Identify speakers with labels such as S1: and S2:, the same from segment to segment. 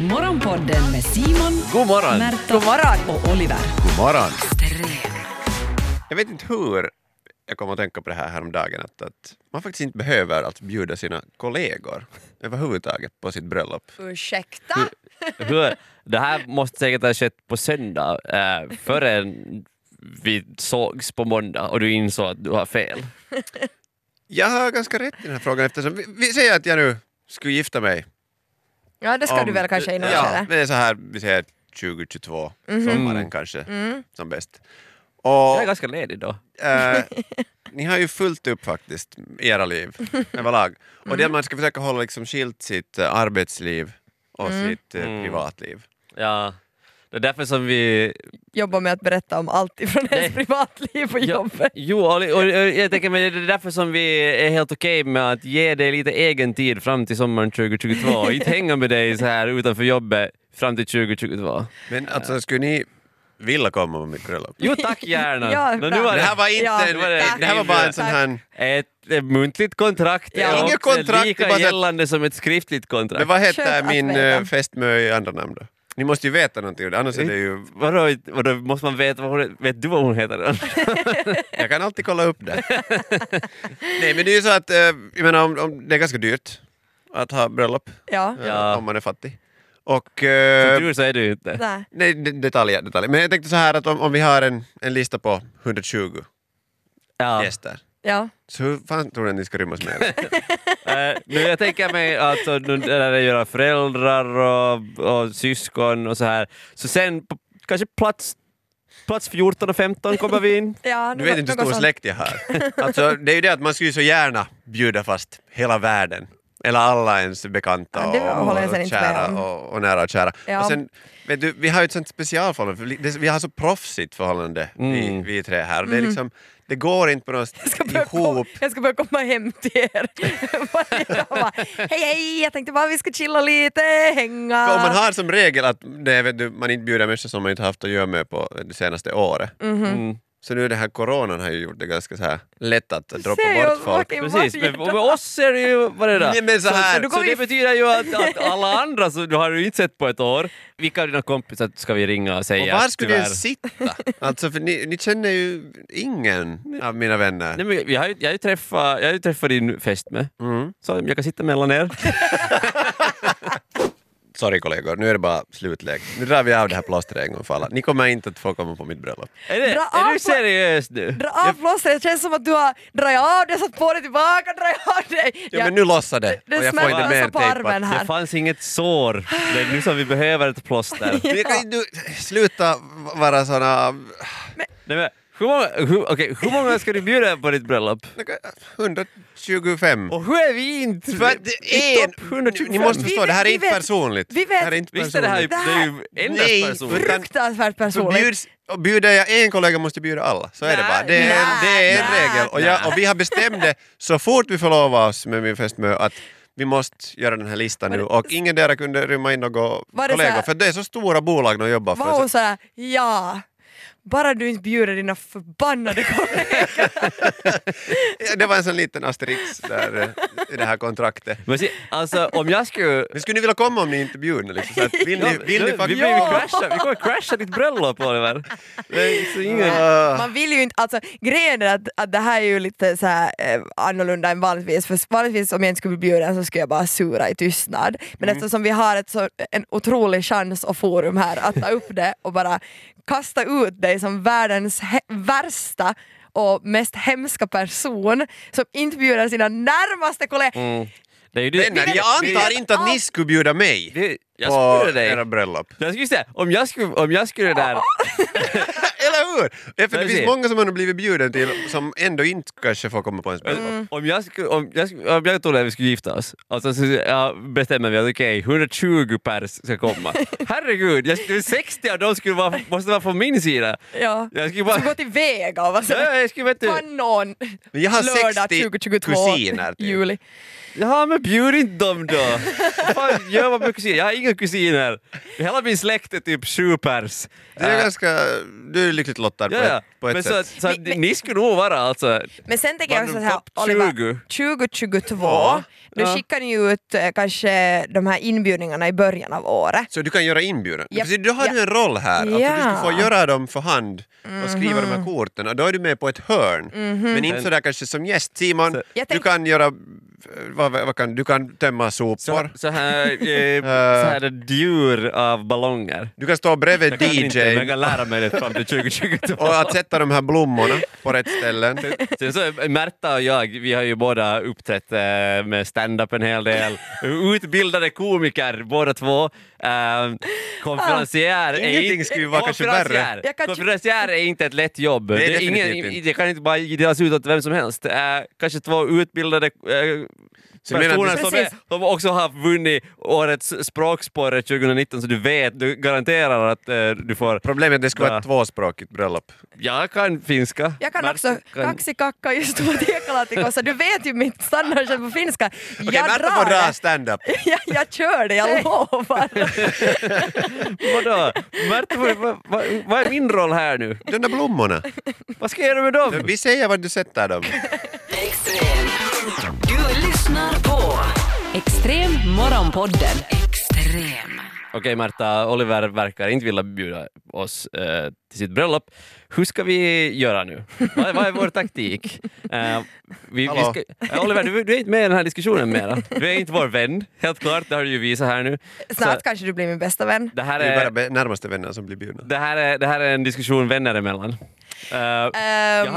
S1: Morgonpodden med Simon,
S2: God morgon!
S1: Märta
S3: God morgon.
S1: och Oliver.
S2: God morgon! Jag vet inte hur jag kom att tänka på det här häromdagen att, att man faktiskt inte behöver att bjuda sina kollegor överhuvudtaget på sitt bröllop.
S3: Ursäkta?
S4: Hur, det här måste säkert ha skett på söndag eh, förrän vi sågs på måndag och du insåg att du har fel.
S2: Jag har ganska rätt i den här frågan eftersom vi, vi säger att jag nu skulle gifta mig.
S3: Ja, det ska
S2: om-
S3: du väl kanske i något
S2: Ja,
S3: skede.
S2: det är så här, vi säger 2022,
S3: Mhm.
S2: sommaren kanske
S3: Mm.
S2: som bäst. Och,
S4: Jag är ganska ledig då.
S2: Eh, ni har ju fullt upp faktiskt i era liv överlag. Och
S3: Mm.
S2: det man ska försöka hålla liksom skilt sitt eh, arbetsliv och sitt eh,
S4: Mm.
S2: privatliv.
S4: Ja. Det är därför som vi...
S3: Jobba med att berätta om allt ifrån ens
S4: Nej.
S3: privatliv på jobbet.
S4: Jo, och, och, och jag tänker men det är därför som vi är helt okej med att ge dig lite egen tid fram till sommaren 2022 och inte hänga med dig så här utanför jobbet fram till 2022.
S2: Men alltså skulle ni vilja komma på mitt bröllop?
S4: Jo tack gärna!
S3: Ja,
S4: Nå,
S3: bra.
S4: var
S2: Det här var inte
S3: Ja,
S2: en,
S4: det var det.
S2: det här var bara en sån här...
S4: Ett eh, muntligt kontrakt
S3: Ja.
S4: är
S3: Inget
S4: också
S2: kontrakt, det
S4: lika
S2: är bara så att-
S4: gällande som ett skriftligt kontrakt.
S2: Men vad heter
S3: Skönt att
S2: min
S3: veta.
S2: eh, fästmö i andra namn då? Ni måste ju veta någonting om det, annars är det ju...
S4: Vadå, vadå, måste man veta vad hon, vet du vad hon heter?
S2: Jag kan alltid kolla upp det. Nej men det är ju så att, eh, jag menar, om, om, det är ganska dyrt att ha bröllop
S3: Ja.
S2: eh,
S4: Ja.
S2: om man är fattig. Och...
S4: Som
S2: eh,
S4: tur så är det ju inte.
S3: Nej.
S2: Nej, det- detaljer, detaljer. Men jag tänkte så här att om, om vi har en, en lista på 120
S4: Ja.
S2: gäster,
S3: Ja.
S2: så hur fan tror ni att ni ska rymmas med?
S4: Eh, nu jag tänker mig att så nu när det gör föräldrar och, och syskon och så här. Så sen på, kanske plats, plats 14 och 15 kommer vi in.
S3: Ja,
S2: Du vet inte hur stor släkt jag har. Alltså, det är ju det att man skulle ju så gärna bjuda fast hela världen. Eller alla ens bekanta
S3: Ja, det
S2: och,
S3: håller jag
S2: och,
S3: sen inte
S2: kära
S3: med om.
S2: och, och nära och kära.
S3: Ja.
S2: Och sen, vet du, vi har ju ett sånt specialförhållande, för vi- det- vi har så proffsigt förhållande, vi,
S4: Mm.
S2: vi tre här. Det, är liksom, det går inte på något
S3: Jag ska, börja komma,
S2: ihop.
S3: jag ska börja komma hem till er. Varje dag bara, hej hej, jag tänkte bara vi ska chilla lite, hänga.
S2: För om man har som regel att det, vet du, man inte bjuder människor som man inte haft att göra med på det senaste året.
S3: Mhm.
S4: Mm.
S2: Så nu den här coronan har ju gjort det ganska så här lätt att droppa
S3: Säg
S2: bort
S3: oss
S2: folk.
S3: fucking
S4: Precis,
S3: varje
S4: men och med
S3: dag.
S4: oss är det ju vad är det
S2: Nej, men så här-
S4: så, så,
S3: Då går
S4: det
S3: vi-
S4: betyder ju att, att alla andra som du har ju inte sett på ett år, vilka av dina kompisar ska vi ringa och
S2: Och
S4: säga
S2: var skulle
S4: tyvärr?
S2: den sitta? Alltså för ni, ni känner ju ingen av mina
S4: Nej,
S2: vänner.
S4: men vi har ju, jag har ju träffat, jag har ju träffat din fästmö,
S2: Mm.
S4: så jag kan sitta mellan er.
S2: Sorry kollegor, nu är det bara slutlägg. Nu drar vi av det här plåstret en gång för alla. Ni kommer inte att få komma på mitt bröllop.
S4: Är, det,
S3: Dra av
S4: är
S3: på-
S4: du seriös nu?
S3: Dra av plåstret, det känns som att du har dragit av det, satt på det tillbaka, dragit av det.
S2: Ja, men nu lossar det!
S3: det
S2: Och jag får inte
S3: smärtar
S2: mer
S3: så på
S2: tejpat.
S3: armen här.
S4: Det fanns inget sår. Det är nu som vi behöver ett plåster.
S2: Men jag kan ju- du, sluta vara såna...
S4: Nej, men, hur, många, hur, okej, hur många ska du bjuda på ditt bröllop?
S2: 125.
S4: Och hur är vi inte...
S2: För att det är
S4: topp 125.
S2: Ni måste förstå, det här är
S3: Vi
S2: inte
S3: vet-
S2: personligt.
S3: vi vet-
S2: det här är inte
S4: Visst är det här, ju-
S2: personligt.
S4: det är ju
S2: Nej,
S4: endast personligt.
S2: utan-
S3: Fruktansvärt
S2: Så
S3: personligt.
S2: bjuds, och bjuder jag en kollega måste jag bjuda alla. Så är det
S4: Nej,
S2: bara. Det är en,
S3: nej,
S2: det är en
S3: nej,
S2: regel. Och, jag, och vi har bestämt det så fort vi förlovar oss med min fästmö att vi måste göra den här listan nu och ingen där kunde rymma in några
S3: Var det så här-
S2: kollegor för det är så stora bolag de jobbar
S3: Var
S2: för.
S3: hon
S2: Så,
S3: såhär, ja, bara du inte bjuder dina förbannade kollegor.
S2: Ja, det var en sån liten asterix där, eh, i det här kontraktet.
S4: Men se, alltså, om jag skulle...
S2: Men skulle ni vilja komma om ni inte bjudna? Liksom, så att, vill ni, vill ni
S4: vi, vi,
S2: faktiskt
S4: blir ju
S2: komma?
S4: crasha, vi kommer crasha ditt bröllop Oliver. Det är så ingen...
S2: Ah.
S3: Man vill ju inte, alltså grejen är att, att det här är ju lite så här, eh, annorlunda än vanligtvis, för vanligtvis om jag inte skulle bli bjuden så skulle jag bara sura i tystnad. Men
S2: Mm.
S3: eftersom vi har ett så, en otrolig chans och forum här att ta upp det och bara kasta ut dig som världens he- värsta och mest hemska person som inte bjuder sina närmaste kollegor.
S4: Mm. Det är ju det,
S2: Men jag antar inte att ni skulle bjuda mig
S4: det, jag
S2: på
S4: skulle dig.
S2: era bröllop.
S4: Jag skulle säga, om jag skulle, om jag skulle där...
S2: Eller hur? Ja, för det
S4: Men
S2: finns
S4: se.
S2: många som man har blivit bjuden till som ändå inte kanske får komma på ens bröllop.
S3: Mm.
S4: Om jag, skulle, om, jag skulle, om jag och Tore vi skulle gifta oss och så, så ja, bestämmer vi att okej, 120 pers ska komma. Herregud, jag skulle, 60 av dem skulle vara, måste vara från min sida.
S2: Mm.
S3: Ja.
S4: Jag skulle
S3: Ska
S4: bara...
S3: gå till Vega och vara så
S4: Ja,
S3: här,
S4: ja, jag skulle vet du,
S3: Kanon!
S2: Men jag har
S3: Lördag
S2: 60
S3: 2022,
S2: kusiner typ.
S3: juli.
S4: ja men bjud inte dem då! Vad Fan, gör vad med kusiner? Jag har inga kusiner. Hela min släkt är typ sju pers.
S2: Det är
S4: Äh,
S2: ganska... Du är lyckligt utblottad
S4: Ja, ja.
S2: på ett, på
S4: Men
S2: ett
S4: så, att-
S2: sätt.
S4: så att
S3: Men- men-
S4: ni skulle nog vara alltså...
S3: Men sen tänker jag också
S4: Var
S3: så
S4: du
S3: här,
S4: topp
S3: Oliver,
S4: 20?
S3: 2022,
S4: Ja,
S3: då
S4: ja.
S3: skickar ni ju ut eh, kanske de här inbjudningarna i början av året.
S2: Så du kan göra inbjudan?
S3: Japp,
S2: Precis, då har du
S3: ja.
S2: en roll här, att du
S3: Ja. Mm-hmm.
S2: ska få göra dem för hand och skriva de här korten och då är du med på ett hörn. Men inte sådär kanske som gäst. Simon,
S3: Jag
S2: du
S3: tänk-
S2: kan göra... Vad, vad kan, du kan tömma
S4: Så,
S2: sopor.
S4: så här, eh, så här är djur av ballonger.
S2: Du kan stå bredvid
S4: Jag kan inte, men jag
S2: DJ
S4: kan lära mig det fram till 2022.
S2: och att sätta de här blommorna på rätt ställen.
S4: Sen så, Märta och jag, vi har ju båda uppträtt eh, med stand-up en hel del. Utbildade komiker båda två. Eh, konferencier är
S2: Ingenting
S4: inte-
S2: skulle vara kanske
S4: konferencier.
S2: värre.
S3: Jag kan-
S4: Konferencier är inte ett lätt jobb.
S2: Nej,
S4: det, är
S2: definitivt
S4: ingen,
S2: inte.
S4: det kan inte bara delas ut åt vem som helst. Eh, kanske två utbildade eh,
S2: Så du menar att
S4: personer
S2: du-
S4: som är,
S3: Precis.
S4: de också har vunnit årets språksporre 2019 så du vet, du garanterar att eh, du får...
S2: Problemet är att det skulle vara
S4: Ja.
S2: ett tvåspråkigt bröllop.
S4: Jag kan finska.
S3: Jag kan
S4: Märta
S3: också kaksikakka just på tekalaatikkossa, du vet ju mitt standardkänsla på finska.
S2: Okej,
S3: jag
S2: Märta får
S3: drar
S2: dra
S3: det.
S2: stand-up.
S3: Jag, jag kör det, jag lovar.
S4: Vadå? Märta, vad, vad, vad, vad är min roll här nu?
S2: De där blommorna.
S4: Vad ska jag göra med dem?
S2: Vi säger var du sätter dem.
S1: Extrem. Du lyssnar på
S5: Extrem morgonpodden.
S1: Extrem.
S4: Okej Märta, Oliver verkar inte vilja bjuda oss eh, till sitt bröllop. Hur ska vi göra nu? Vad, vad är vår taktik? Eh, vi, vi
S2: Hallå.
S4: ska, eh, Oliver, du, du är inte med i den här diskussionen mera. Du är inte vår vän, helt klart. Det har du ju visat här nu.
S3: Snart
S4: Så
S3: kanske du blir min bästa vän.
S4: det, här
S2: Det är bara
S4: är,
S2: be- närmaste vänner som blir bjudna.
S4: det, här är, det här är en diskussion vänner emellan. Eh, jag, har,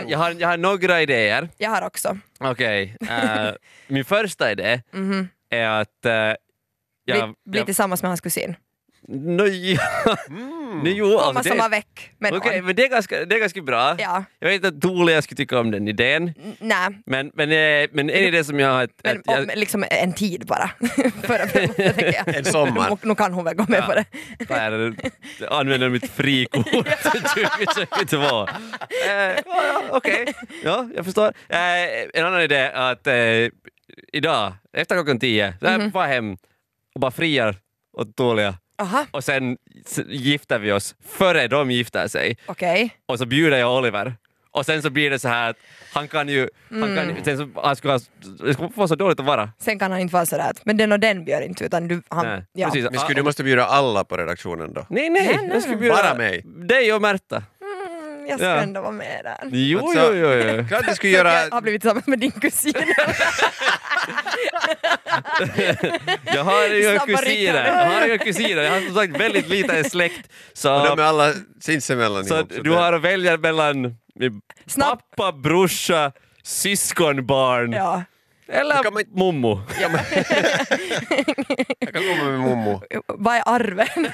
S3: Ehm,
S4: jag, har, jag har några idéer.
S3: jag har också.
S4: Okej. eh, min första idé är att... eh,
S3: Bli,
S4: jag,
S3: Mm-hmm. bli
S4: jag,
S3: tillsammans med hans kusin.
S4: no, ja, no, jo,
S3: Komma
S4: alltså, det,
S3: samma veck med någon.
S4: okej, men det är ganska, det är ganska bra.
S3: Ja,
S4: Jag vet inte att Ole jag skulle tycka om den idén.
S3: n- nej.
S4: Men, men, eh, men en idé som jag har... Att,
S3: Men
S4: att jag,
S3: om, liksom en tid bara. Förra bröllopet tänker jag.
S2: En sommar.
S3: Nu, nu kan hon väl gå med
S4: Ja.
S3: på det.
S4: där, använder mitt frikort 2022. Eh, ja, ja, Okej, ja, jag förstår. Eh, en annan idé är att eh, idag, efter klockan tio, så
S3: Mhm.
S4: här, far hem och bara friar åt dåliga.
S3: Aha,
S4: Och sen s- gifter vi oss före de gifter sig.
S3: okej.
S4: Och så bjuder jag Oliver. Och sen så blir det så här att han kan ju... Han
S3: Mm.
S4: kan, ju- sen så, han skulle, ha- det skulle vara så dåligt att vara.
S3: Sen kan han inte vara sådär att men den och den bjöd inte utan du, han,
S4: Nej,
S3: ja.
S4: precis. Ah,
S2: Men skulle du måste bjuda alla på redaktionen då?
S4: Nej, nej,
S3: Nej, nej.
S4: jag skulle bjuda
S2: Bara mig.
S4: dig och Märta.
S3: Mm, jag ska
S4: Ja.
S3: ändå vara med där.
S4: Jo,
S2: Alltså-
S4: jo, jo, jo.
S2: Klart du skulle
S3: För att Jag har
S2: göra...
S3: blivit tillsammans med din kusin.
S4: Jag har ju
S3: Snabba
S4: kusiner.
S3: ryckare.
S4: Jag har ju kusiner. Jag har som sagt väldigt liten släkt.
S2: Och
S4: Så,
S2: de är alla sinsemellan
S4: så
S2: ihop. så
S4: du
S2: det-
S4: har att välja mellan min
S3: Snabb-
S4: pappa, brorsa, syskonbarn
S3: ja.
S4: eller
S2: Då kan man-
S4: mommo.
S2: Jag kan komma med mommo.
S3: Vad är arven?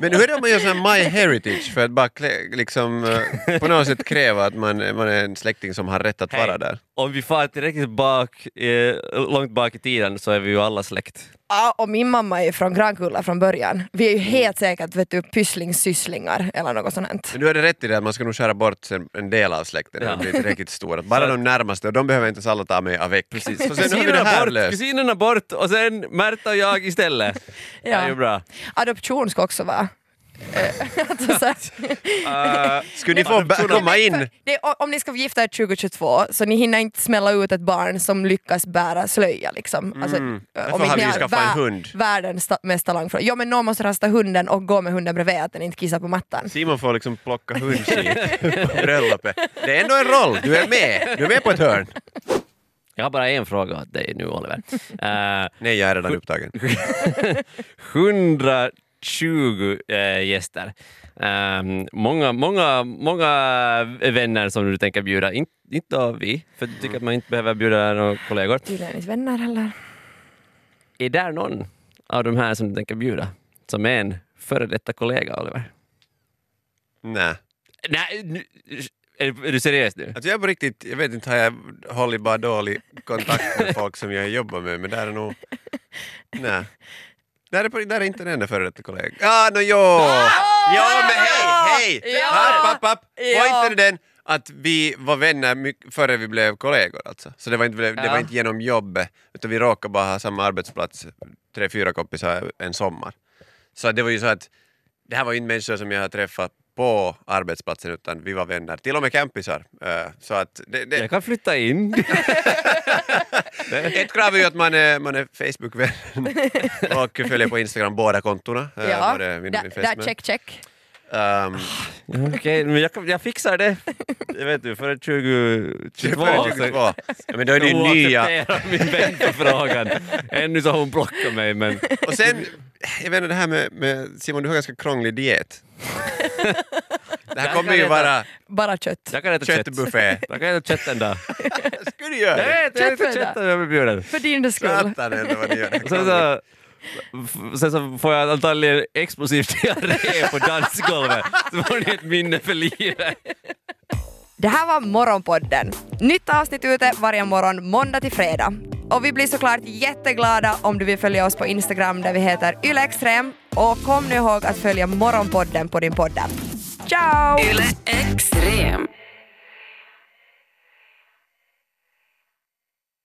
S2: Men hur är det om man gör sån här My Heritage för att bara klä, liksom, eh, på något sätt kräva att man, man är en släkting som har rätt att vara
S4: Hej.
S2: där?
S4: Om vi far tillräckligt bak, eh, långt bak i tiden så är vi ju alla släkt.
S3: Ja, och min mamma är ju från Grankulla från början. Vi är ju
S4: Mm.
S3: helt säkert vet du, pysslingssysslingar eller något sånt. här.
S2: Men du har det rätt i det att man ska nog skära bort en- en del av släkten när
S4: Ja.
S2: de blir tillräckligt stora. Bara de närmaste och de behöver inte ens alla ta med avec. Precis. Så sen har vi det
S4: Kusinerna
S2: här
S4: bort,
S2: löst.
S4: kusinerna bort och sen Märta och jag istället. Det är ju bra.
S3: Adoption ska också vara. Eh, alltså, så här.
S4: Eh,
S2: Skulle ni få bä- komma in?
S3: det, är- om ni ska gifta er 2022 så ni hinner inte smälla ut ett barn som lyckas bära slöja. Liksom.
S2: Mm.
S3: Alltså, eh,
S2: har
S3: inte
S2: vi ju
S3: ni har
S2: skaffat en
S3: vä-
S2: hund.
S3: Världens ta- mest talangfulla. Ja men någon måste rasta hunden och gå med hunden bredvid att den inte kissar på mattan.
S2: Simon får liksom plocka hundskit på bröllopet. Det är ändå en roll, du är med. Du är med på ett hörn.
S4: jag har bara en fråga åt dig nu Oliver. Eh,
S2: Nej, jag är redan upptagen.
S4: 120 eh, gäster. Ehm, många, många, många vänner som du tänker bjuda. In, inte av vi, för du tycker att man inte behöver bjuda några kollegor.
S3: Tydligen inte vänner eller?
S4: Är där någon av de här som du tänker bjuda som är en före detta kollega, Oliver?
S2: Nej.
S4: Nej, nu, är, är du seriös nu?
S2: Alltså jag är på riktigt, jag vet inte, har jag hållit bara dålig kontakt med folk som jag jobbar med, men där är nog... Nej. Där är, på, där är inte den enda före detta kollegan. Ah, no, jo! ja, men hej, hej!
S3: Ah! Ja!
S2: App, app, app.
S3: Ja!
S2: Var inte det den att vi var vänner mycket före vi blev kollegor alltså? Så det var inte, det var
S4: Ja.
S2: inte genom jobbet, utan vi råkade bara ha samma arbetsplats, tre, fyra kompisar en sommar. Så det var ju så att det här var ju inte människor som jag har träffat på arbetsplatsen utan vi var vänner, till och med campisar. Eh, Så att det, det,
S4: Jag kan flytta in.
S2: Ett krav är ju att man är, man är Facebook-vän och följer på Instagram båda kontona. eh,
S3: Ja,
S2: både min och min
S3: där, där
S2: fästmö.
S3: check check.
S2: Ehm,
S4: Okej, men jag, kan- jag fixar det. Jag vet du, före 2022.
S2: före 22. Ja, men då är det ju nya.
S4: accepterar min vän på frågan. Ännu så har hon blockat mig men
S2: Och sen, jag vet inte det här med, med Simon, du har ganska krånglig diet. Det här
S4: Jag
S2: kommer
S4: kan
S2: ju
S4: äta
S2: vara
S3: Bara kött.
S4: jag kan äta kött.
S2: köttbuffé.
S4: Jag kan äta kött en dag.
S2: Skulle du göra?
S4: Jag äter jag äter
S3: Köttbuffé.
S4: kött om jag blir bjuden.
S3: För din skull.
S2: Satan ändå vad ni gör.
S4: Och Sen så, sen så får jag antagligen explosiv diarré på dansgolvet. Så får ni ett minne för livet.
S3: Det här var Morgonpodden. Nytt avsnitt ute varje morgon måndag till fredag. Och vi blir såklart jätteglada om du vill följa oss på Instagram där vi heter ylextrem. Och kom nu ihåg att följa Morgonpodden på din podd. Ciao!
S1: Yle Extrem.